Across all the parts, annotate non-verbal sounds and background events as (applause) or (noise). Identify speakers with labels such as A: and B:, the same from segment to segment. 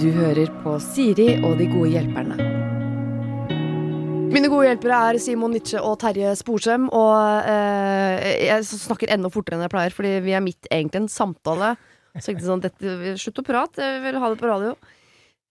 A: Du hører på Siri og de gode hjelperne.
B: Mine gode hjelpere er Simon Nitsche og Terje Sporsem. Og eh, jeg snakker enda fortere enn jeg pleier, fordi vi er midt egentlig en samtale. Så tenkte jeg sånn, dette, Slutt å prate, jeg vil ha det på radio.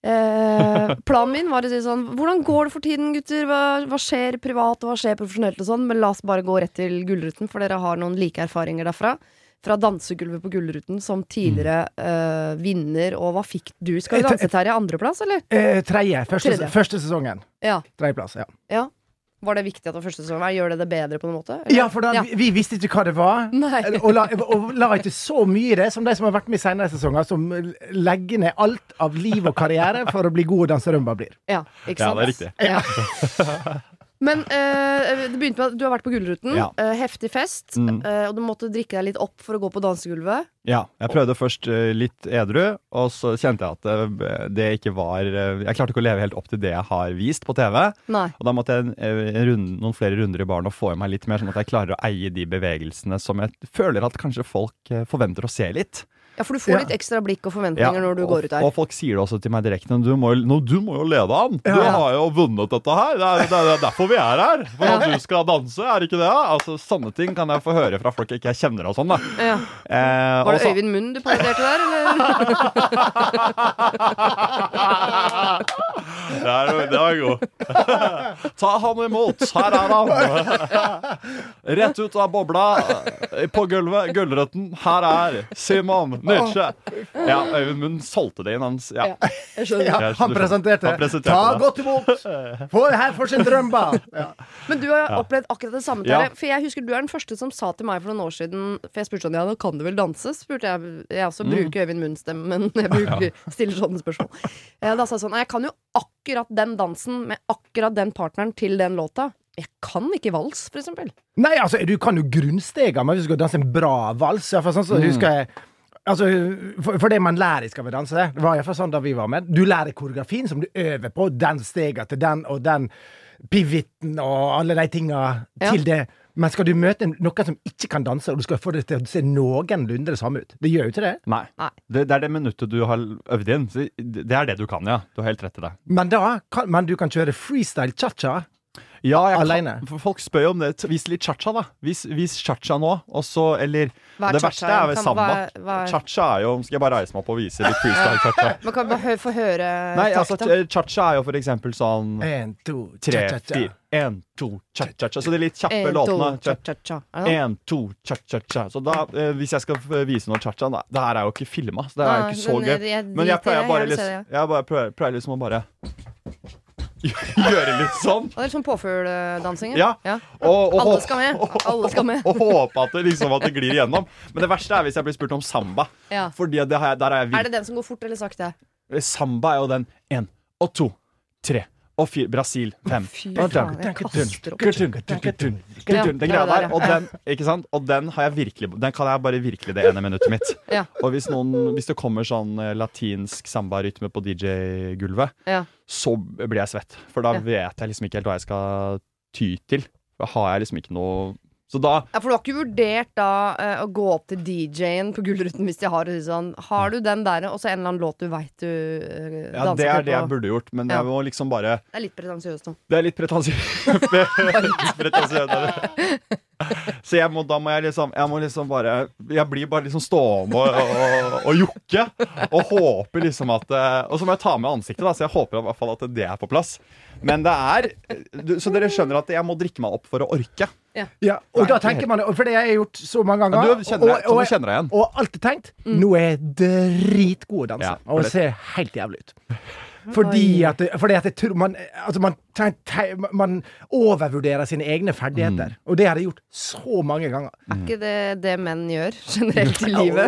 B: Eh, planen min var å si sånn Hvordan går det for tiden, gutter? Hva, hva skjer privat, og hva skjer profesjonelt og sånn? Men la oss bare gå rett til Gullruten, for dere har noen like erfaringer derfra. Fra dansegulvet på Gullruten, som tidligere eh, vinner, og hva fikk du? Skal du danse, Terje? Andreplass, eller?
C: Eh, tredje. Første,
B: Tredje.
C: første sesongen.
B: Ja.
C: Tredjeplass, ja.
B: Ja. Var det viktig at det var første sesong? Gjør det det bedre på en måte? eller?
C: Ja, for da,
B: Ja.
C: Vi, vi visste ikke hva det var. Eh,
B: Nei.
C: Og la, og la ikke så mye i det som de som har vært med i senere sesonger, som legger ned alt av liv og karriere for å bli gode danserømba blir.
B: Ja, ikke
D: Ja,
B: sant?
D: det er riktig.
B: Ja. Men eh, det begynte med at du har vært på Gullruten.
D: Ja.
B: eh, heftig fest.
D: Mm.
B: eh, og du måtte drikke deg litt opp for å gå på dansegulvet.
D: Ja, jeg prøvde først eh, litt edru, og så kjente jeg at det, det ikke var eh, Jeg klarte ikke å leve helt opp til det jeg har vist på TV.
B: Nei.
D: Og da måtte jeg en, en runde, noen flere runder i baren og få i meg litt mer, sånn at jeg klarer å eie de bevegelsene som jeg føler at kanskje folk eh, forventer å se litt.
B: Ja, For du får
C: Ja.
B: litt ekstra blikk og
D: Ja,
B: forventninger når du
D: og,
B: går ut der.
D: Og folk sier det også til meg direkte. Du må, jo- nå, du må jo lede an! Du
C: Ja.
D: har jo vunnet dette her! Det er, det er- det er derfor vi er her! For at du skal danse, er det ikke det? da? Altså, Sånne ting kan jeg få høre fra folk jeg ikke kjenner og sånn, da.
B: Ja.
D: Eh,
B: Var
D: og
B: det
D: så-
B: Øyvind Munn du parodierte der, eller?
D: Det er, det er god. Ta han imot. Her er han. Rett ut av bobla, eh, på gulvet, gulrøtten. Her er Simon Nietzsche. Ja, Øyvind Munn solgte det inn. Han, s- ja.
B: Jeg skjønner.
C: Ja,
D: Jeg
C: han
D: skjønner.
C: presenterte.
D: Han presenterte
C: Ta
D: det.
C: godt imot! Få det her for sin drømba! Ja.
B: Men du har opplevd akkurat det samme.
D: Ja.
B: Terje. For jeg husker Du er den første som sa til meg for noen år siden For jeg spurte sånn, ja, nå kan du vel danse? Spurte Jeg Jeg
D: Mm.
B: også bruker Øyvind Munn-stemme, men (laughs) jeg bruker, stiller sånne spørsmål. Eh, Da sa jeg sånn Nei, jeg kan jo akkurat den dansen med akkurat den partneren til den låta. Jeg kan ikke vals, for eksempel.
C: Nei, altså, du kan jo grunnstega, men hvis du skal danse en bra vals i hvert fall sånn,
D: Mm.
C: så husker jeg Altså, for, for det man lærer skal vi danse, det var iallfall sånn da vi var med. Du lærer koreografien som du øver på, den stega til den og den piviten og alle de tinga
B: Ja.
C: til det. Men skal du møte en- noen som ikke kan danse, og du skal få det til å se noenlunde det samme ut Det gjør jo ikke det.
D: Nei.
B: Nei.
D: Det, det er det minuttet du har øvd inn. Så Det er det du kan, ja. Du har helt rett i det.
C: Men da kan, men du kan kjøre freestyle cha-cha.
D: Ja, jeg
C: Alene.
D: Kan, for folk spør jo om det. Vis litt cha-cha, da. Vis, vis cha-cha nå, og så Eller
B: Hva er
D: Det
B: cha-cha?
D: verste er vel
B: Kan-
D: samba.
B: hva er- hva er-
D: Cha-cha er jo Skal jeg bare reise meg opp og vise litt freestyle cha-cha?
B: Man kan bare hø få høre
D: Nei, altså,
B: takta.
D: cha-cha er jo for eksempel sånn
B: Eh,
C: Én, to,
D: Tre,
C: cha-cha-cha.
D: fire, én, to, cha-cha-cha. Så det er litt kjappe
B: En, to,
D: låtene. Cha-
B: cha-cha-cha. Er det sånn? noe?
D: En, to, cha-cha-cha. Så da, eh, hvis jeg skal eh, vise noe cha-cha da- Det her er jo ikke filma, så det er jo
B: Nei,
D: ikke så
B: Ah, men jeg-
D: gøy.
B: jeg
D: Men
B: driter i
D: jeg
B: det,
D: pleier
B: jeg
D: bare
B: vil se
D: liksom
B: det,
D: Jeg bare prøver, pleier liksom å bare (laughs) gjøre litt sånn.
B: Ja, det er sånn påfugldansingen?
D: Ja. Og, og,
B: Alle
D: håp-
B: skal med.
D: og-
B: Alle skal
D: (laughs)
B: med.
D: Og håpe at det liksom at det glir igjennom. Men det verste er hvis jeg blir spurt om samba.
B: Ja.
D: Fordi det har jeg, der er jeg Eh,
B: Er det den som går fort eller sakte?
D: Samba er jo den én og to, tre og fire Brasil fem.
B: Fy
D: Og
B: faen,
D: den-
B: jeg kaster opp.
D: Kultun, kultun, kultun,
B: Ja,
D: kultun. Den greia
B: det er
D: der,
B: det,
D: og
B: ja.
D: den, ikke sant? Og den, har jeg virkelig, den kan jeg bare virkelig det ene minuttet mitt.
B: Ja.
D: Og hvis, noen, hvis det kommer sånn eh, latinsk sambarytme på DJ-gulvet,
B: Ja.
D: så blir jeg svett. For da
B: Ja.
D: vet jeg liksom ikke helt hva jeg skal ty til. Da har jeg liksom ikke noe Så da
B: Ja, For du har ikke vurdert da eh, å gå opp til DJ-en på Gullruten hvis de har det sånn Har du den der, og så en eller annen låt du veit du eh,
D: ja,
B: danser
D: Det er
B: til
D: det jeg
B: på?
D: burde gjort, men
B: Ja.
D: jeg må liksom bare
B: Det er litt pretensiøst nå.
D: Det er litt pretensiøst. (laughs) Så jeg må, da må jeg liksom Jeg må liksom bare Jeg blir bare liksom stående og, og, og jokke. Og håper liksom at eh, Og så må jeg ta med ansiktet, da, så jeg håper i hvert fall at det er på plass. Men det er du- Så dere skjønner at jeg må drikke meg opp for å orke.
C: Ja, og da tenker man For det har jeg gjort så mange ganger.
D: Ja, du kjenner deg- sånn du kjenner deg igjen.
C: og alltid tenkt
B: Mm.
C: Nå er jeg dritgod å danse.
D: Ja, for
C: og
D: det-
C: ser helt jævlig
B: (laughs)
C: ut. Fordi
B: Oi.
C: at, fordi at jeg tror man, altså man, tenk- te- man overvurderer sine egne
D: Mm.
C: ferdigheter. Og det har jeg gjort så mange ganger.
B: Er ikke det det menn gjør (laughs) generelt i livet?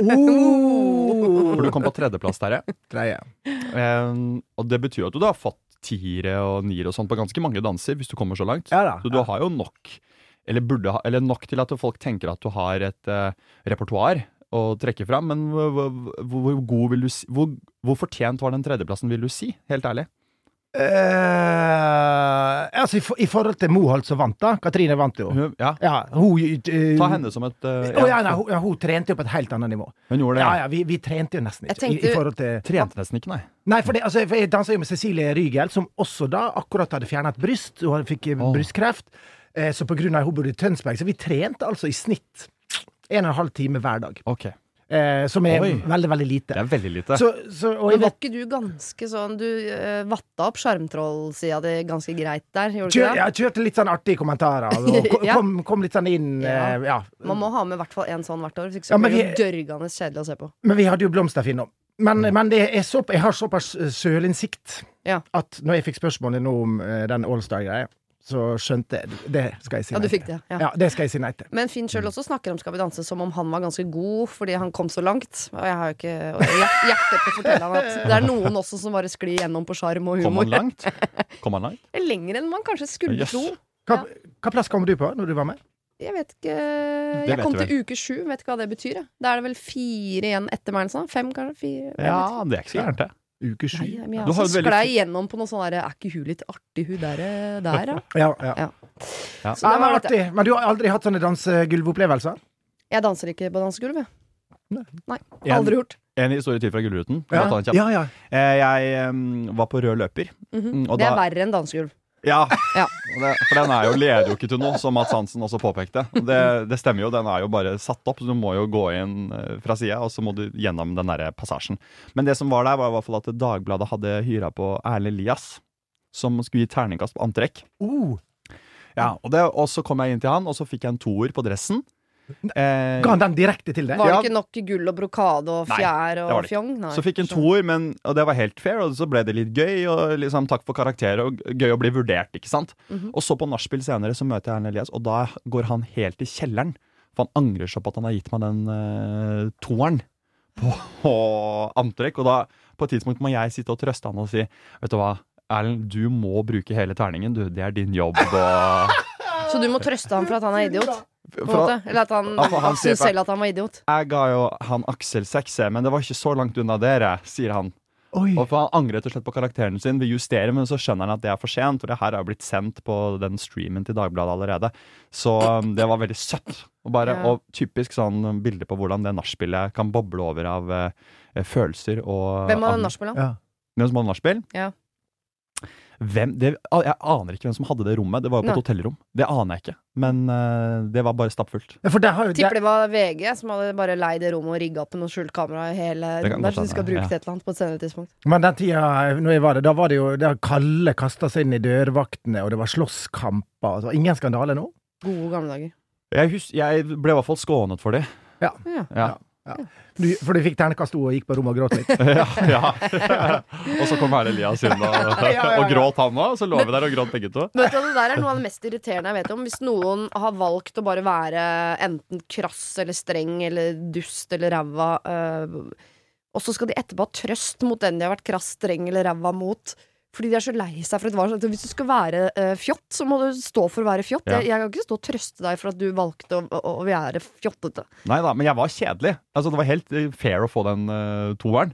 B: (laughs)
C: Oh,
D: For du kom på tredjeplass, Terje.
C: Greie.
D: Um, og det betyr jo at du da har fått tiere og niere og sånn på ganske mange danser, hvis du kommer så langt.
C: Ja da,
D: så du har jo nok, eller burde ha, eller nok til at folk tenker at du har et eh, repertoar å trekke fram, men hvor, hvor, hvor god vil du si hvor, hvor fortjent var den tredjeplassen, vil du si? Helt ærlig.
C: Eh, altså, i, for, I forhold til Moholt som vant, da. Katrine vant jo.
D: Hun, ja.
C: Ja, hun eh,
D: Ta henne som et eh,
C: Å ja, nei, hun, ja, hun trente jo på et helt annet nivå.
D: Hun gjorde det.
C: Ja,
D: Ja.
C: ja, vi, vi trente jo nesten
B: Jeg
C: ikke. I,
B: tenkte-
C: i forhold til
D: Trente nesten ikke, nei.
C: Nei, for, det, altså, for jeg dansa jo med Cecilie Rygel, som også da akkurat hadde fjernet bryst. Hun hadde- fikk eh,
D: Åh.
C: brystkreft. Eh, så på grunn av at hun bodde i Tønsberg, så vi trente altså i snitt en og en halv time hver dag.
D: Ok,
C: Eh, som er
D: Oi.
C: veldig, veldig
D: Det
C: lite.
D: er veldig lite.
C: Så, så, og jeg
B: Men var
C: vet
B: ikke du ganske sånn Du eh, vatta opp sjarmtrollsida di ganske greit der, gjorde du
C: kjør,
B: ikke det?
C: Jeg kjørte litt sånn artige kommentarer,
B: (laughs)
C: og ko-
B: Ja.
C: kom, kom litt sånn inn
B: Ja.
C: eh, ja.
B: Man må ha med i hvert fall én sånn hvert år, hvis ikke
C: Ja,
B: så
C: men
B: blir det jo dørgende kjedelig å se på.
C: Men vi hadde jo Blomsterfinn òg. Men, men det er så, jeg har såpass eh, sølinnsikt
B: Mm. Ja.
C: at når jeg fikk spørsmålet nå om eh, den Allstar-greia, så skjønte jeg Det skal jeg si
B: Ja, du
C: nei
B: fikk
C: til.
B: det. Ja.
C: Ja, det skal jeg si nei til.
B: Men Finn
D: Mm.
B: sjøl også snakker om Skal vi danse som om han var ganske god fordi han kom så langt. Og jeg har jo ikke og hjer- hjerte til å fortelle han at det er noen også som bare sklir gjennom på sjarm og
D: Kom
B: humor.
D: han langt?
C: (laughs)
D: Kom han langt?
B: (laughs) Lenger enn man kanskje skulle
D: Jøss.
B: tro.
C: Hva, hva plass kom du på når du var med?
B: Jeg vet ikke
D: vet
B: Jeg kom
D: du
B: til uke sju, vet ikke hva det betyr. jeg. Da er det vel fire igjen etter meg eller sånn. Fem, kanskje? Fire? Jeg vet ikke.
D: Ja, det er ikke så gærent, det.
B: Nei,
C: Uke sju?
B: men jeg
D: Du har
B: altså,
D: et veldig
B: sklei gjennom på noe sånn derre Er ikke hun litt artig, hun der, eh, der
D: (laughs)
B: ja.
C: (laughs) Ja, ja.
B: Så det
C: Nei, men,
B: var artig.
C: artig. men du har aldri hatt sånne dansegulvopplevelser?
B: Jeg danser ikke på dansegulv, jeg. Nei.
D: En-
B: Aldri gjort.
D: En historie til fra Gullruten.
C: Ja.
D: Bare ta den kjapt.
C: ja, ja.
D: Eh, Jeg em, var på rød løper.
C: Mhm.
D: Mm, og
B: Det er
D: da-
B: verre enn dansegulv.
D: Ja,
B: Ja.
D: og det, for den er jo, leder jo ikke til noe, som Mads Hansen også påpekte. Og Det, det stemmer jo, den er jo bare satt opp, så du må jo gå inn eh, fra sida, og så må du gjennom den derre passasjen. Men det som var der, var i hvert fall at Dagbladet hadde hyra på Erle Elias, som skulle gi terningkast på antrekk.
C: Uh,
D: Ja, og, det, og så kom jeg inn til han, og så fikk jeg en toer på dressen. Eh,
C: ga han den direkte til deg?
B: Var det
D: Ja.
B: ikke nok gull og brokade og
D: Nei,
B: fjær
D: var
B: og
D: det ikke.
B: fjong? Nei,
D: Så fikk en
B: skjønner.
D: toer, men, og det var helt fair, og så ble det litt gøy. Og liksom Takk for karakter, og gøy å bli vurdert, ikke sant.
B: Mhm.
D: Og så på nachspiel senere så møter jeg Erlend Elias, og da går han helt i kjelleren. For han angrer så på at han har gitt meg den eh, toeren på, på (laughs) antrekk. Og da, på et tidspunkt, må jeg sitte og trøste han og si Vet du hva, Erlend, du må bruke hele terningen, du. Det er din jobb.
B: (laughs)
D: Og
B: Så du må trøste ham for at han er idiot? På en
D: For
B: måte?
D: han-
B: Eller at han,
D: Ja, for han
B: han syns
D: sier-
B: selv at han var idiot?
D: jeg ga jo han Aksel sekser, men det var ikke så langt unna dere, sier han.
C: Oi.
D: Og for Han angrer rett og slett på karakteren sin, vil justere, men så skjønner han at det er for sent. For det her er jo blitt sendt på den streamen til Dagbladet allerede. Så um, det var veldig søtt. Og, bare,
B: Ja.
D: og typisk sånn bilde på hvordan det nachspielet kan boble over av eh, følelser og
B: Hvem var
D: av-
B: det nachspiel, da?
C: Ja.
D: Hvem som hadde nachspiel?
B: Ja.
D: Hvem, det, jeg aner ikke hvem som hadde det rommet. Det var jo
B: Nei.
D: på et hotellrom. Det aner jeg ikke. Men eh, det var bare stappfullt.
C: Ja, For der har jo
B: Tipper
C: der,
B: det var VG som hadde bare leid det rommet og rigga opp med noe skjult kamera i hele
D: Det kan
B: rommet,
D: godt
B: så de skal
D: hende,
B: bruke
D: ja.
B: det et eller annet på et senere tidspunkt.
C: Men den tida eh, når jeg var der, da var det jo der Kalle kasta seg inn i dørvaktene, og det var slåsskamper. og det var Ingen skandale nå?
B: Gode gamle dager.
D: Jeg, hus jeg ble i hvert fall skånet for det.
B: Ja.
D: Ja.
C: Du, for du fikk ternekast to og gikk på rommet og gråt (laughs) litt?
D: ja, ja. og så kom Erlend Elias inn og,
C: ja, ja.
D: og gråt han òg. Så lå vi der og gråt begge to.
B: Vet du, hva, Det der er noe av det mest irriterende jeg vet om. Hvis noen har valgt å bare være enten krass eller streng eller dust eller ræva, øh, og så skal de etterpå ha trøst mot den de har vært krass, streng eller ræva mot. Fordi de er så lei seg for at det var sånn. at Hvis du skal være øh, fjott, så må du stå for å være fjott.
D: Ja.
B: Jeg, jeg kan ikke stå og trøste deg for at du valgte å, å, å være fjottete.
D: Nei da, men jeg var kjedelig. Altså, det var helt eh, fair å få den eh, toeren.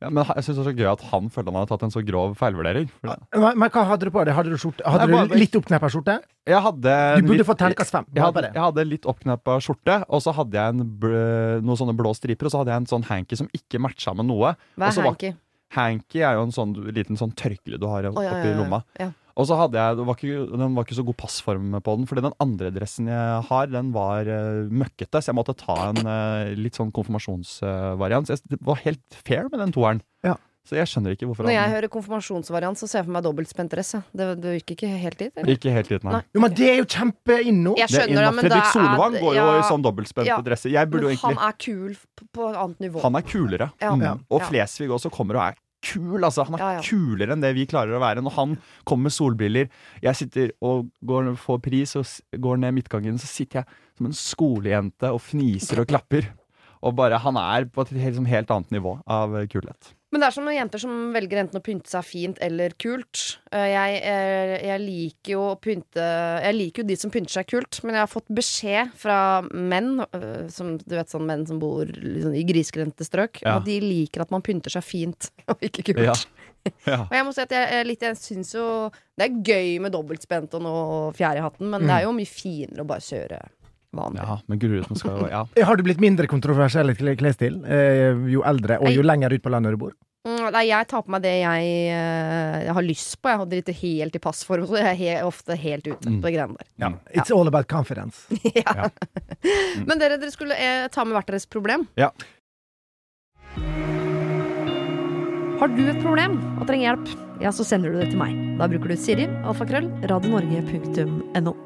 D: Ja, men ha- jeg synes det er så gøy at han følte han hadde tatt en så grov feilvurdering. For det-
C: Men, men hva hadde du på deg? Hadde du, skjorte? Hadde
D: Nei,
C: du
D: bare-
C: litt oppkneppa skjorte?
D: Jeg hadde
C: Du burde
D: litt-
C: fått ternekast fem.
D: Jeg
C: Bare på
D: hadde,
C: det.
D: jeg hadde litt oppkneppa skjorte, og så hadde jeg en bl- noen sånne blå striper, og så hadde jeg en sånn hanky som ikke matcha med noe.
B: Hva
D: Og
B: er
D: så var-
B: hanky?
D: Hanky er jo en sånn du- liten sånn tørkle du har
B: Å, ja,
D: oppi
B: ja, ja.
D: lomma.
B: Ja.
D: Og så hadde jeg, det var ikke, Den var ikke så god passform på den, fordi den andre dressen jeg har, den var eh, møkkete. Så jeg måtte ta en eh, litt sånn konfirmasjonsvariant. Så jeg, det var helt fair med den toeren.
C: Ja.
D: Så jeg skjønner ikke hvorfor
B: Når jeg
D: han
B: hører konfirmasjonsvariant, så ser jeg for meg dobbeltspent dress. jeg. Det, det gikk ikke helt dit. eller?
D: Ikke helt liten her.
B: Nei.
C: Jo, men det er jo kjempeinn nå!
B: Jeg
D: Det er
B: skjønner det,
D: innenfor.
B: men da
D: Fredrik
B: er
D: Solvang går jo i
B: ja,
D: sånn dobbeltspente
B: Ja.
D: dresser. Jeg burde jo
B: Men han
D: egentlig
B: er kul på, på et annet nivå.
D: Han er kulere.
B: Ja.
D: Mm.
C: Ja.
D: Og
B: Ja.
D: Flesvig også kommer og er kul. Altså. Han er
B: Ja, ja.
D: kulere enn det vi klarer å være. Når han kommer med solbriller, jeg sitter og går, får pris og s- går ned midtgangen, så sitter jeg som en liksom skolejente og fniser og klapper. Og bare, Han er på et helt, som helt annet nivå av kulhet.
B: Men det er som noen jenter som velger enten å pynte seg fint eller kult. Eh, Jeg, eh, jeg liker jo å pynte Jeg liker jo de som pynter seg kult, men jeg har fått beskjed fra menn, eh, som, du vet sånn menn som bor liksom, i grisgrendte strøk,
D: Ja.
B: at de liker at man pynter seg fint (laughs) og ikke kult.
D: Ja. Ja.
B: Og jeg må si at jeg, er litt, jeg syns jo det er gøy med dobbeltspent og noe og fjær i hatten, men det er jo mye finere å bare kjøre vanlig.
D: Ja, men Gullruten skal jo Ja.
C: Har du blitt mindre kontroversiell i kle- klesstil eh, jo eldre og jo lenger ut på landet du bor?
B: Mm, Nei, jeg tar på meg det jeg, eh, jeg har lyst på. Jeg driter helt i passform, så jeg er he ofte helt ute
C: Mm.
B: på de greiene der.
D: Ja.
C: It's all about confidence.
B: Men dere, dere skulle eh, ta med hvert deres problem.
D: Ja.
B: Har du et problem og trenger hjelp, ja, så sender du det til meg. Da bruker du Siri, alfakrøll,
E: radionorge.no.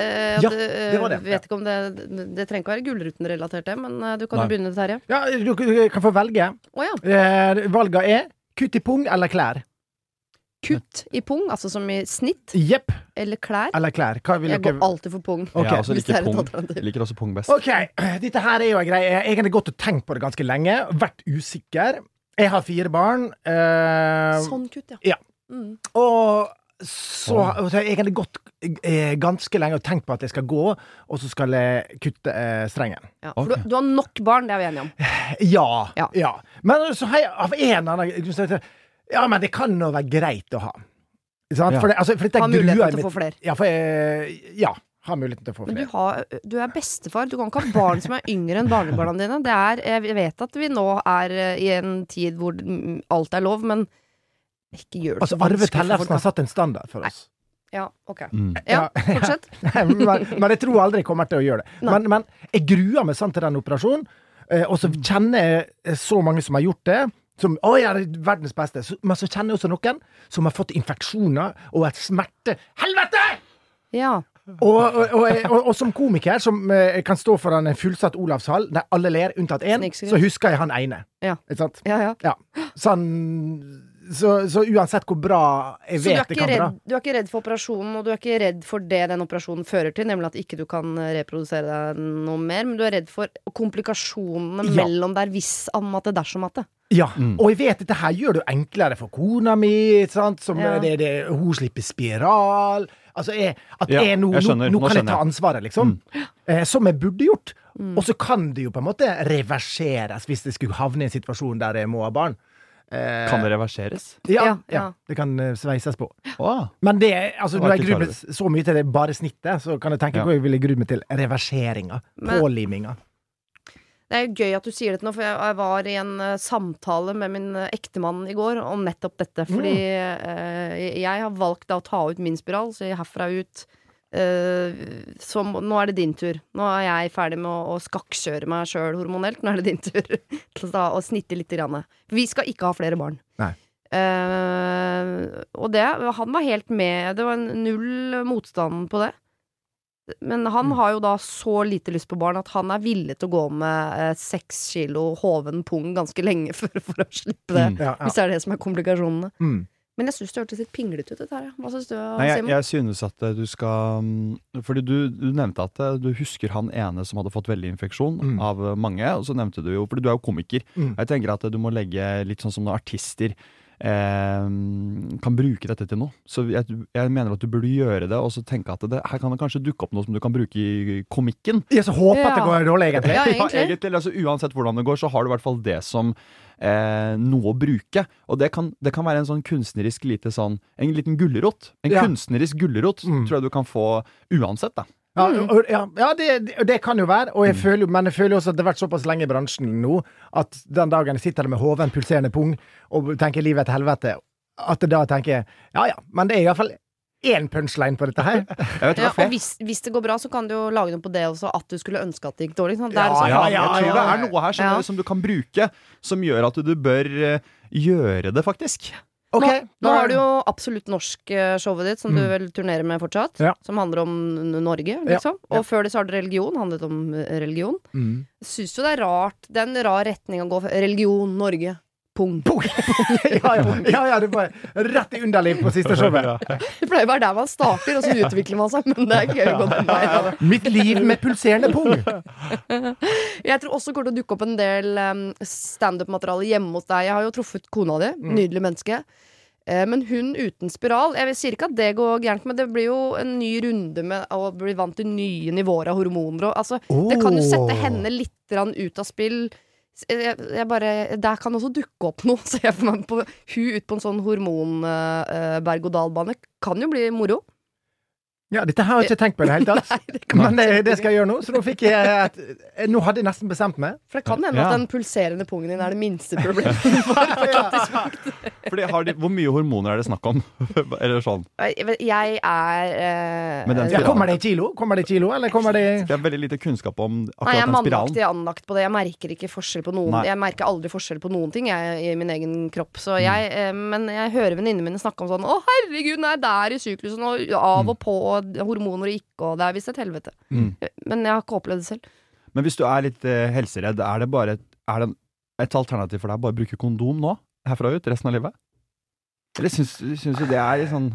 B: Eh,
C: Ja,
B: det,
C: det var det.
B: eh, Vet ikke om det, det, det trenger ikke være Gullruten-relatert, det, men eh, du kan
D: Nei.
B: jo begynne, Terje.
C: Ja, du k- kan få velge.
B: Å ja.
C: Eh, valga er kutt i pung eller klær.
B: Kutt i pung, altså som i snitt,
C: Jepp
B: eller klær.
C: eller klær. Hva vil
B: Jeg
C: dere
B: går alltid for pung.
C: Ok.
D: Jeg også
B: Hvis det
D: liker
B: er et
D: pung.
B: alternativ.
D: Liker også pung best.
C: Ok, dette her er jo en greie. Jeg har egentlig gått og tenkt på det ganske lenge. Vært usikker. Jeg har fire barn. eh,
B: Sånn kutt, ja.
C: ja.
B: Mm.
C: Og så, og så har jeg egentlig gått eh, ganske lenge og tenkt på at jeg skal gå, og så skal jeg kutte eh, strengen.
B: ja. For
D: Ok.
B: du, du har nok barn, det er vi enige om.
C: Ja.
B: Ja.
C: ja. Men så har jeg av en eller annen grunn så tenkte jeg, Ja, men det kan jo være greit å ha. Ikke Sant?
D: Ja.
C: For det, altså, for dette
B: Ha
C: gruer
B: muligheten
C: jeg
B: til å
C: mitt-
B: få flere.
C: Ja, for jeg, ja, ha muligheten til å få
B: Men du,
C: flere.
B: har, du er bestefar. Du kan ikke ha barn som er yngre enn barnebarna dine. Det er, jeg vet at vi nå er eh, i en tid hvor mm, alt er lov, men ikke gjør det
C: Altså,
B: så
C: Arve
B: vanskelig for folk,
C: Tellefsen
B: da.
C: har satt en standard for oss.
B: Ja, ok.
D: Mm.
B: Ja, fortsett.
C: men, men jeg tror aldri jeg kommer til å gjøre det.
B: Nei.
C: Men, men jeg gruer meg sånn til den operasjonen, eh, og så
B: Mm.
C: kjenner jeg eh, så mange som har gjort det. Som, å, jeg er verdens beste. Så, men så kjenner jeg også noen som har fått infeksjoner og et smerte Helvete!
B: Ja.
C: Og, og, og, og, og som komiker, som eh, kan stå foran en fullsatt Olavshall, der alle ler unntatt én,
B: Snikskryt.
C: så husker jeg han ene.
B: Ja.
C: Ikke sant?
B: ja, ja.
C: Ja. Så, han, så, så uansett hvor bra jeg
B: Så du er,
C: vet det
B: ikke
C: kan bli bra
B: redd, du er ikke redd for operasjonen, og du er ikke redd for det den operasjonen fører til, nemlig at ikke du kan eh, reprodusere deg noe mer, men du er redd for komplikasjonene
C: Ja.
B: mellom der hvis om at det dersom at det.
C: Ja,
D: Mm.
C: og jeg vet dette her gjør det jo enklere for kona mi. ikke Sant? Som
B: Ja.
C: det, det, hun slipper spiral. Altså, jeg, at
D: Ja,
C: jeg nå,
D: jeg skjønner.
C: nå, nå
D: Nå
C: kan jeg
D: skjønner
C: ta
D: jeg. Mm.
C: ansvaret, liksom. Eh, som jeg burde gjort.
B: Mm.
C: Og så kan det jo på en måte reverseres hvis jeg skulle havne i en situasjon der jeg må ha barn. Eh,
D: Kan det reverseres?
B: Ja,
C: Ja, ja,
B: ja.
C: Det kan eh, sveises på.
D: Åh.
C: Men det, altså,
D: Det var
C: når jeg
D: ikke
C: gruer meg så mye til det bare snittet, så kan jeg tenke
D: Ja.
C: på hva jeg ville grue meg til reverseringa.
B: Men-
C: Påliminga.
B: Det er jo gøy at du sier dette nå, for jeg, jeg var i en eh, samtale med min eh, ektemann i går om nettopp dette. Fordi eh, jeg har valgt da å ta ut min spiral, så jeg herfra ut eh, så må- nå er det din tur. Nå er jeg ferdig med å, å skakkjøre meg sjøl hormonelt. Nå er det din tur (laughs) til å, ta- å snitte litt. Grann. Vi skal ikke ha flere barn.
C: Nei.
B: Eh, og det, han var helt med. Det var null motstand på det. Men han
D: Mm.
B: har jo da så lite lyst på barn at han er villig til å gå med eh, seks kilo hoven pung ganske lenge (laughs) for, for å slippe det.
D: Mm.
C: Ja, ja.
B: Hvis det er det som er komplikasjonene.
C: Mm.
B: Men jeg syns det hørtes litt pinglete ut, dette her. ja. Hva syns du,
D: Nei, jeg,
B: Simon?
D: jeg synes at eh, du skal mm, Fordi du, du nevnte at eh, du husker han ene som hadde fått veldig infeksjon
C: Mm.
D: av eh, mange. Og så nevnte du jo Fordi du er jo komiker.
C: Mm.
D: Jeg tenker at eh, du må legge litt sånn som når artister eh, kan bruke dette til noe. Så jeg, jeg mener at du burde gjøre det, og så tenke at det, her kan det kanskje dukke opp noe som du kan bruke i komikken.
C: Jeg så håper at det
B: Ja.
C: går dårlig, egentlig.
B: Ja,
D: (laughs) Ja,
B: egentlig.
D: egentlig. Altså, uansett hvordan det går, så har du i hvert fall det som eh, noe å bruke. Og det kan, det kan være en sånn kunstnerisk lite sånn En liten gulrot. En
C: Ja.
D: kunstnerisk gulrot
C: Mm.
D: tror jeg du kan få uansett, da.
C: Ja,
B: Mm.
C: og- ja, ja det, det- det kan jo være, og jeg føler, jo- men jeg føler jo også at det har vært såpass lenge i bransjen nå at den dagen jeg sitter der med hoven, pulserende pung og tenker livet er et helvete, at jeg da tenker jeg, ja ja, men det er iallfall én punchline på dette her.
D: Jeg vet
B: Ja,
D: hva
B: og hvis, hvis det går bra, så kan du jo lage noe på det også, at du skulle ønske at det gikk dårlig. ikke sant? Det er
C: Ja,
B: sånn-
D: ja, jeg tror
C: ja,
D: det er noe her som,
B: Ja.
D: som du kan bruke, som gjør at du bør eh, gjøre det, faktisk.
C: Ok,
B: Nå
C: da-
B: har du jo Absolutt norsk-showet ditt,
D: Mm.
B: som du vel turnerer med fortsatt.
C: Ja.
B: Som handler om N- Norge, liksom. Og før det så har du religion. Handlet om eh, religion.
C: Mm.
B: Syns jo det er rart. Det er en rar retning å gå for. Religion Norge. Pung. (laughs)
C: Pung! (laughs) Ja, ja, ja, ja, det var rett i underliv på siste showet.
B: Det pleier å være der man starter,
D: (laughs)
B: og så utvikler man seg. Men det er gøy å gå den veien. også.
C: Mitt liv med pulserende pung.
B: Jeg tror også kommer til å dukke opp en del um, standup-materiale hjemme hos deg. Jeg har jo truffet kona di.
D: Mm.
B: Nydelig menneske. Eh, Men hun uten spiral Jeg sier ikke at det går gærent, men det blir jo en ny runde med å bli vant til nye nivåer av hormoner. Og, altså, Det kan jo sette henne litt grann ut av spill. S- eh, Jeg, jeg bare, der kan også dukke opp (laughs) noe, ser jeg for meg. På, hun ut på en sånn hormon-berg-og-dal-bane kan jo bli moro.
C: Ja, dette har jeg ikke tenkt på i det hele tatt. Men det, det skal jeg gjøre nå, så nå fikk jeg et, Nå hadde jeg nesten bestemt meg.
B: For det kan hende
D: Ja.
B: at den pulserende pungen din er det minste
D: (laughs)
B: problemet.
D: Fordi har de, hvor mye hormoner er det snakk om? (laughs) Eller sånn.
B: Jeg jeg er eh,
D: Men den
C: Ja, kommer det i kilo? Kommer det i kilo, eller kommer det i
D: Jeg har veldig lite kunnskap om
B: Nei, jeg er
D: akkurat den
B: mannaktig
D: spiralen.
B: anlagt på det. Jeg merker ikke forskjell på noen
D: Nei. Mm.
B: Jeg merker aldri forskjell på noen ting jeg, i min egen kropp. Så jeg, eh, men jeg hører venninnene mine snakke om sånn Å, herregud, den er der i syklusen, og av og på, og hormoner og ikke, og det er visst et helvete.
D: Mm.
B: Men jeg har ikke opplevd det selv.
D: Men hvis du er litt eh, helseredd, er det bare et, er det en- et alternativ for deg å bare bruke kondom nå? Herfra ut? Resten av livet? Eller syns, syns du det er litt sånn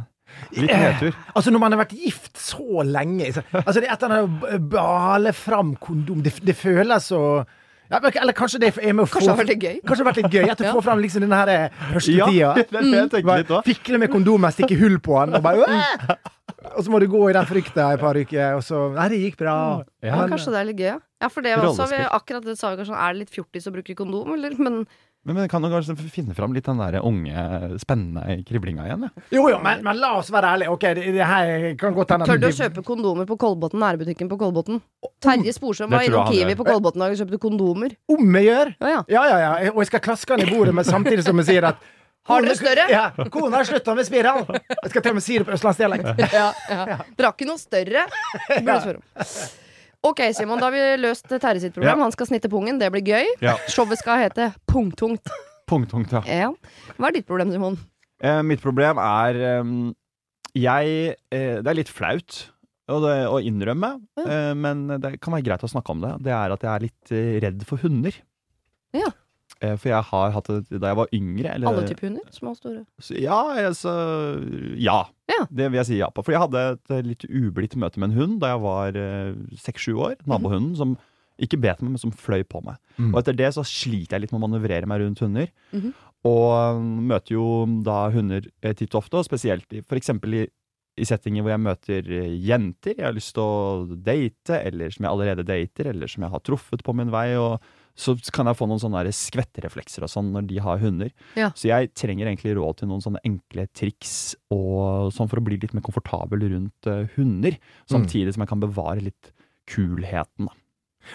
D: Litt nedtur?
C: Altså, når man har vært gift så lenge så- Altså, det er et eller annet å b- bale fram kondom Det, det føles så ja, men- Eller kanskje det er med å få
B: Kanskje det har vært litt gøy.
C: Kanskje det har vært litt gøy at du får fram liksom den her eh, første
B: (laughs)
D: Ja, (laughs)
C: tida. Mm.
D: det er det jeg tenker litt
C: Bare
D: òg.
C: fikle med kondomet, stikke hull på den, og bare «Åh!» Og så må du gå i den frykta i et par uker, og så Nei, det gikk bra.
B: Ja,
C: Men-
B: kanskje det er litt gøy, ja. ja for det var også, vi,
D: Rollespill.
B: akkurat det sa vi kanskje, er det litt fjortis å bruke kondom, eller? Men
D: Men, men kan du kanskje finne fram litt den der unge, spennende kriblinga igjen? Ja?
C: eh, Jo, jo, men, men la oss være ærlige. Ok, det, det her kan godt hende at
B: tør du å
C: det-
B: kjøpe kondomer på Kolbotn, nærbutikken på Kolbotn? Terje Sporsem var
D: Oh, Det tror
B: innom
D: jeg han
B: Kiwi
D: gjør.
B: på Kolbotn og kjøpte kondomer.
C: Om jeg gjør?
B: Ja, ja.
C: Ja, ja, ja. Og jeg skal klaske han i bordet, men samtidig som jeg sier at
B: Har dere større?
C: Ja. Kona har slutta med spiral. Jeg skal til og med si det på østlandsdialekt.
B: ja,
D: (laughs)
B: ja. Dere har ikke noe større? Det Burde jeg spørre om. Ok, Simon, da har vi løst Terje sitt problem.
D: Ja.
B: Han skal snitte pungen, det blir gøy.
D: (laughs) Ja.
B: Showet skal hete Pungtungt.
D: Pungtungt, ja.
B: Ja. Hva er ditt problem, Simon?
D: Eh, mitt problem er ehm, Jeg eh, Det er litt flaut å, det, å innrømme, eh, men det kan være greit å snakke om det. Det er at jeg er litt eh, redd for hunder.
B: Ja.
D: Eh, for jeg har hatt det da jeg var yngre. Eller,
B: Alle typer hunder? Små og store?
D: Så, ja, altså ja.
B: Ja.
D: Det vil jeg si ja på. For jeg hadde et eh, litt ublidt møte med en hund da jeg var eh, seks-sju år.
B: Mhm.
D: Nabohunden som ikke bet meg, men som fløy på meg.
C: Mm.
D: Og etter det så sliter jeg litt med å manøvrere meg rundt hunder.
B: Mhm.
D: Og um, møter jo da hunder eh, titt og ofte, og spesielt i- for eksempel i, i settinger hvor jeg møter eh, jenter jeg har lyst til å date, eller som jeg allerede dater, eller som jeg har truffet på min vei. og så kan jeg få noen sånne der skvettereflekser og sånn når de har hunder.
B: Ja.
D: Så jeg trenger egentlig råd til noen sånne enkle triks og sånn for å bli litt mer komfortabel rundt eh, hunder. Samtidig som jeg kan bevare litt kulheten. da.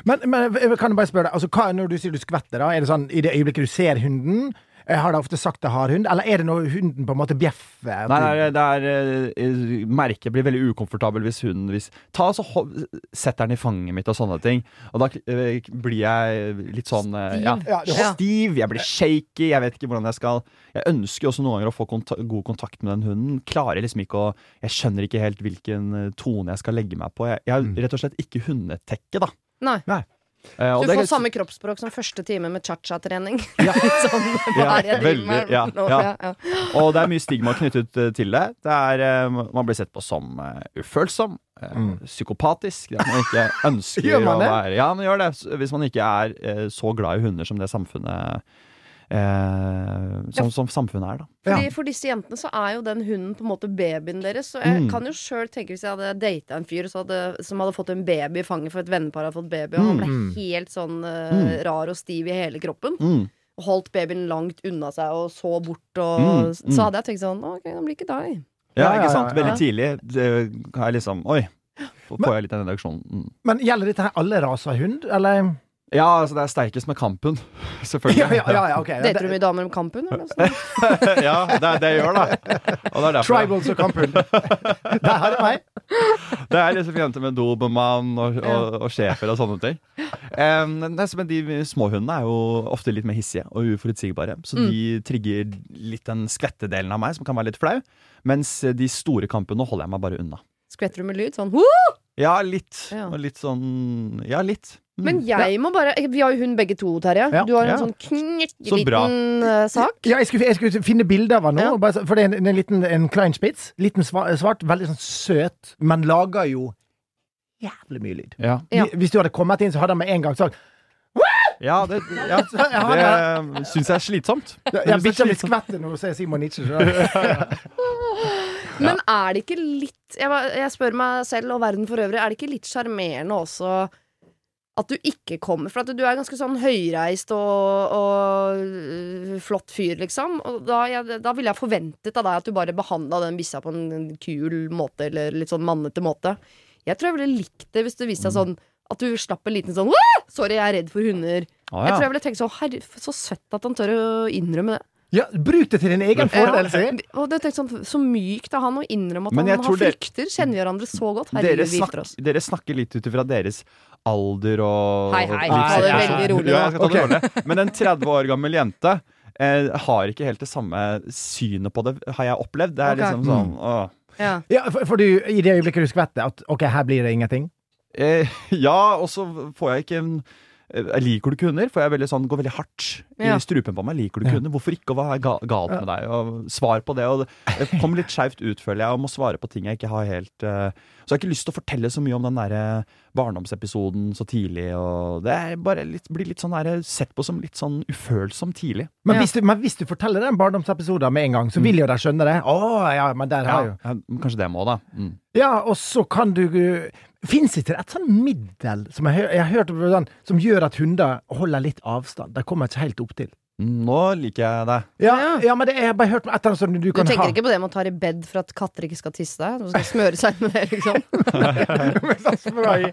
C: Men, men jeg kan jeg bare spørre deg, altså, hva er når du sier du skvetter, da? Er det sånn i det øyeblikket du ser hunden? Eh, Har de ofte sagt det har hund? Eller er det når hunden på en måte bjeffer? at
D: Nei,
C: du-
D: nei, det er, eh, merket blir veldig ukomfortabel hvis hunden hvis, Ta og så ho- Setter den i fanget mitt og sånne ting. Og da eh, blir jeg litt sånn eh, ja,
C: Ja, du-
D: Stiv, jeg blir shaky, jeg vet ikke hvordan jeg skal Jeg ønsker jo også noen ganger å få konta god kontakt med den hunden. Klarer liksom ikke å Jeg skjønner ikke helt hvilken eh, tone jeg skal legge meg på. Jeg, jeg har rett og slett ikke hundetekke, da.
B: Nei.
D: Eh, og
B: Du
D: det-
B: får samme kroppsspråk som første time med cha-cha-trening.
D: (laughs)
B: (laughs)
D: Ja.
B: sånn, hva
D: Ja,
B: er jeg driver
D: veldig,
B: med
D: ja,
B: nå?
D: ja.
B: Ja, ja.
D: Og det er mye stigma knyttet eh, til det. det er, eh, man blir sett på som eh, ufølsom, eh, psykopatisk. Det er at man
C: (laughs)
D: ikke ønsker
C: Mm. Gjør man
D: å
C: det?
D: være Ja, man gjør det. s- Hvis man ikke er eh, så glad i hunder som det samfunnet eh, som, som samfunnet er, da.
B: Fordi For disse jentene så er jo den hunden på en måte babyen deres. Så jeg
D: Mm.
B: kan jo sjøl tenke hvis jeg hadde data en fyr så hadde, som hadde fått en baby i fanget for et vennepar hadde fått baby, og han ble helt sånn eh, rar og stiv i hele kroppen,
D: Mm.
B: og holdt babyen langt unna seg og så bort, og
D: Mm, mm.
B: så hadde jeg tenkt sånn OK, det blir ikke deg.
D: Ja,
C: Ja, ja,
D: ikke
C: ja,
D: sant?
C: ja.
D: Veldig tidlig det er liksom Oi, så får jeg litt den reaksjonen. Mm.
C: Men gjelder dette her alle raser av hund, eller?
D: Ja, altså det er sterkest med kampen, (laughs)
C: Ja,
D: selvfølgelig.
C: ja, ja, ja ok. Ja,
B: Dater
C: det-
B: du mye damer om kampen? Eller? noe sånt?
D: (laughs) ja, det er det jeg gjør, da. Og det er derfor jeg-
C: Tribals og (laughs) kamphund. Der har du meg.
D: Det er liksom jenter med dobermann og, og, og sjefer og sånne ting. Em, nei, så men de små hundene er jo ofte litt mer hissige og uforutsigbare. Så de trigger litt den skvettedelen av meg, som kan være litt flau. Mens de store kampene holder jeg meg bare unna.
B: Skvetter du med lyd? Sånn «Hoo!»
D: Ja, litt.
B: Ja.
D: Og litt sånn Ja, litt. Mm.
B: Men jeg må bare Vi har jo hun begge to, Terje.
C: Ja.
B: Du har en
D: Ja.
B: sånn
D: Så bra.
B: knekkeliten eh, sak.
C: Ja, jeg skulle, jeg skulle finne bilder av han nå.
B: Ja.
C: bare så- For det er en, en liten en kleinspitz. Liten sva- svart, veldig sånn søt, men lager jo jævlig mye lyd.
D: Ja,
B: Ja.
C: Hvis du hadde kommet inn, så hadde han med en gang sagt
D: ja det, ja, det syns jeg er slitsomt.
C: Ja,
D: synes det er
C: bikkja mi
D: slitsomt.
C: skvetter nå, sier Simon Nietzsche. skjønner du.
B: Men er det ikke litt jeg, bare- jeg spør meg selv og verden for øvrig, er det ikke litt sjarmerende også at du ikke kommer? For at du er ganske sånn høyreist og, og øh, flott fyr, liksom. Og da, jeg, da ville jeg forventet av deg at du bare behandla den bissa på en, en kul måte, eller litt sånn mannete måte. Jeg tror jeg ville likt det hvis det viste seg sånn at du slapp en liten sånn «Wah! Sorry, jeg er redd for hunder.
D: Mm. Å,
B: Jeg tror
D: ja.
B: jeg ville tenkt sånn Herre, så søtt at han tør å innrømme det.
C: Ja, bruk det til din egen fordel, si.
B: Og det tenkte sånn, Så mykt av han å innrømme at
D: Men
B: han,
D: jeg
B: han
D: tror dere-
B: flykter. Kjenner vi hverandre så godt.
D: Dere,
B: Herregud, vi
D: snak,
B: gifter oss.
D: dere snakker litt ut ifra deres alder og
B: Hei, hei,
C: ta
D: livssituasjon.
C: det
B: veldig rolig
D: Ja, jeg skal ta det
C: nå.
D: rolig. Men en 30 år gammel jente eh, har ikke helt det samme synet på det, har jeg opplevd. Det er
B: Ok.
D: liksom sånn åh.
B: Ja.
C: Ja, for, for du, I det øyeblikket du skvetter at OK, her blir det ingenting.
D: eh, (laughs) Ja, og så får jeg ikke en eh, jeg liker du ikke hunder? For jeg er veldig sånn, går veldig hardt
B: Ja.
D: i strupen på meg. Liker du ikke hunder? Hvorfor ikke? Og hva er ga galt med deg? Og svar på det. Og
C: (laughs)
D: det det kommer litt skjevt ut, føler jeg, og må svare på ting jeg ikke har helt eh, Så jeg har ikke lyst til å fortelle så mye om den derre barndomsepisoden så tidlig. Og det er bare litt, blir litt sånn der, sett på som litt sånn ufølsom tidlig.
C: Men,
B: Ja.
C: hvis, du, men hvis du forteller den barndomsepisoden med en gang, så vil jo de skjønne det. Å, ja, men der har jo
D: Ja, kanskje det må, da. Mm.
C: Ja, og så kan du Fins ikke det et sånn middel som jeg, hø- jeg har hørt om, sånn, som gjør at hunder holder litt avstand? De kommer ikke helt opp til.
D: Mm, Nå liker jeg deg.
C: Ja,
B: Ja.
C: ja men det jeg har bare hørt om et eller annet som du
B: Du
C: kan
B: tenker
C: ha.
B: ikke på det man tar i bed for at katter ikke skal tisse deg? De skal smøre seg med det, liksom.
C: (laughs) Med sånn
B: (laughs)
C: spray.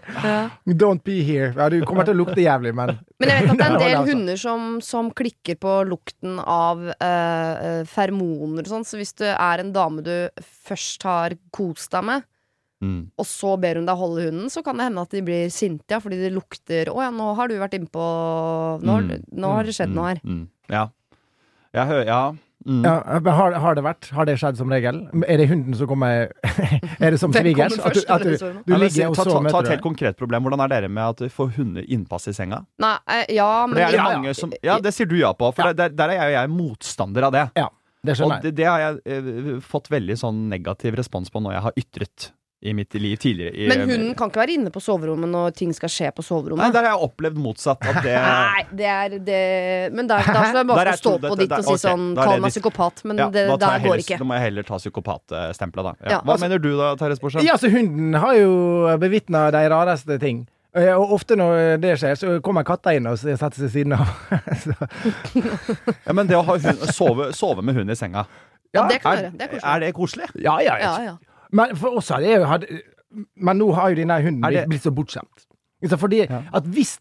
C: Don't be here. Ja, du kommer til å lukte jævlig, men
B: Men jeg vet at det er en
C: Ja, det er
B: del
D: altså-
C: sant.
B: hunder som, som klikker på lukten av eh, eh, feromoner og sånn, så hvis du er en dame du først har kost deg med,
D: Mm.
B: og så ber hun deg holde hunden, så kan det hende at de blir sinte, ja, fordi det lukter Å ja, nå har du vært innpå Nå, har-
D: Mm.
B: nå har det skjedd
D: Mm,
B: noe her.
D: Mm. Ja. Jeg hører Ja. Mm.
C: ja, men har, har det vært? Har det skjedd som regel? Er det hunden som kommer (laughs) Er det som
B: Den
C: svigers?
B: kommer
C: At du,
B: først,
C: at
B: eller
C: du,
B: så er det
C: du
D: Ja, men si-
C: ligger og
D: ta,
C: så
D: ta, ta
C: møter
D: et
C: du
D: helt konkret problem. Hvordan er dere med at vi får hunder innpass i senga?
B: Nei, eh, ja,
D: For
B: men
D: det er det
B: ja.
D: mange som Ja, det sier du ja på, for
C: Ja.
D: Der, der er jeg og jeg motstander av det.
C: Ja, det
D: Og
C: skjønner jeg.
D: det, det har jeg eh, fått veldig sånn negativ respons på når jeg har ytret i mitt liv tidligere. I,
B: Men hunden kan ikke være inne på soverommet når ting skal skje på
D: Eh, Nei,
B: soverommet.
D: der har jeg opplevd motsatt. At
B: (laughs)
D: det
B: Nei, det er det Men der, der skal jeg
D: Der
B: bare
D: er
B: få stå
D: to-
B: på
D: dette-
B: ditt
D: der-
B: og si
D: ok,
B: sånn
D: da er
B: Kall
D: det
B: meg
D: ditt.
B: psykopat, men
D: ja,
B: det
D: da, tar jeg
B: der går
D: heller,
B: ikke.
D: da må jeg heller ta psykopatstempelet, da. Ja.
B: Ja,
D: Hva
B: altså-
D: mener du da, Terje Sporsem?
C: Ja, så hunden har jo bevitna de rareste ting. Eh, Og ofte når det skjer, så kommer katta inn og s- setter seg ved siden av. (laughs) Så-
D: Ja, men det å ha hund, sove, sove med hund i senga,
B: Ja, det kan
D: er,
B: være. Det er koselig.
D: er det koselig?
C: ja, ja,
B: Ja, ja.
C: Men for oss har det jo hatt Men nå har jo denne hunden
D: Er det-
C: blitt, blitt så bortskjemt. Altså, Fordi at hvis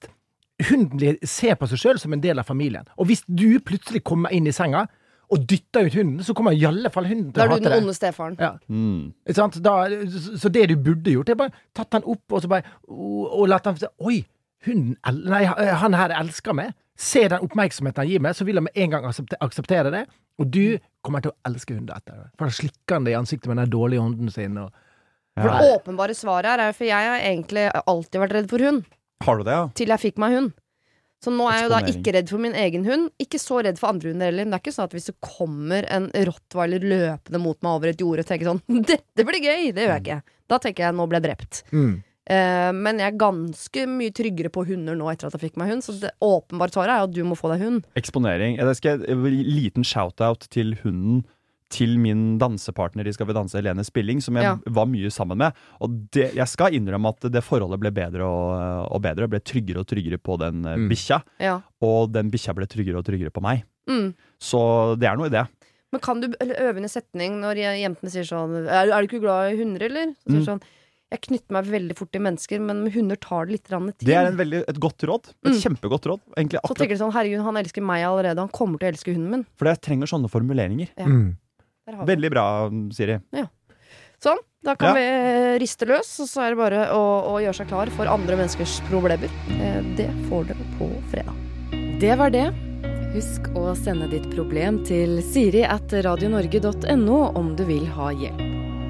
C: hunden blir, ser på seg sjøl som en del av familien, og hvis du plutselig kommer inn i senga og dytter ut hunden, så kommer i alle fall hunden til
B: Da
C: å
B: er du
C: hate
B: den
C: deg.
B: onde stefaren.
C: Ja.
D: Mm.
C: Ikke Sant? Da, så- så det du burde gjort, er bare tatt han opp og så bare og, og latt han si Oi, hunden el- Nei, han her elsker meg. Se den oppmerksomheten han gir meg, så vil han med en gang aksepte- akseptere det. Og du kommer til å elske hunden etter det. For da slikker han deg i ansiktet med den dårlige hunden sin. Og,
B: For
D: Ja.
B: det åpenbare svaret her er jo For jeg har egentlig alltid vært redd for hund.
D: Har du det, ja?
B: Til jeg fikk meg hund. Så nå er jeg jo da
D: Eksponering.
B: ikke redd for min egen hund. Ikke så redd for andre hunder heller. Men det er ikke sånn at hvis det kommer en rottweiler løpende mot meg over et jorde og tenker sånn (laughs) 'Dette blir gøy!' Det gjør jeg ikke. Da tenker jeg 'Nå ble jeg drept'. Eh, men jeg er ganske mye tryggere på hunder nå etter at jeg fikk meg hund. Så det åpenbare svaret er jo at du må få deg hund.
D: Eksponering. Jeg skal jeg vil gi en liten shout-out til hunden til min dansepartner i Skal vi danse, Helene Spilling, som jeg
B: Ja.
D: var mye sammen med. Og det, jeg skal innrømme at det forholdet ble bedre og, og bedre. Jeg ble tryggere og tryggere på den eh, bikkja,
B: Ja.
D: og den bikkja ble tryggere og tryggere på meg.
B: Mm.
D: Så det er noe i det.
B: Men kan du eller øve inn en setning når je- jentene sier sånn Er, er du ikke glad i hunder, eller? Så sier
D: Mm.
B: sånn Jeg knytter meg veldig fort til mennesker, men med hunder tar det litt grann tid.
D: Det er en veldig, et godt råd. Et kjempegodt råd.
B: Mm. så
D: Egentlig akkurat,
B: tenker du sånn Herregud, han elsker meg allerede. Han kommer til å elske hunden min.
D: for jeg trenger sånne formuleringer.
B: Ja.
C: Mm.
B: Der har vi.
D: Veldig bra, mm, Siri.
B: det. Sånn. Da kan
D: Ja.
B: vi eh, riste løs, og så er det bare å, å gjøre seg klar for andre menneskers problemer. Eh, Det får dere på fredag.
A: Det var det. Husk å sende ditt problem til siri at radionorge.no om du vil ha hjelp.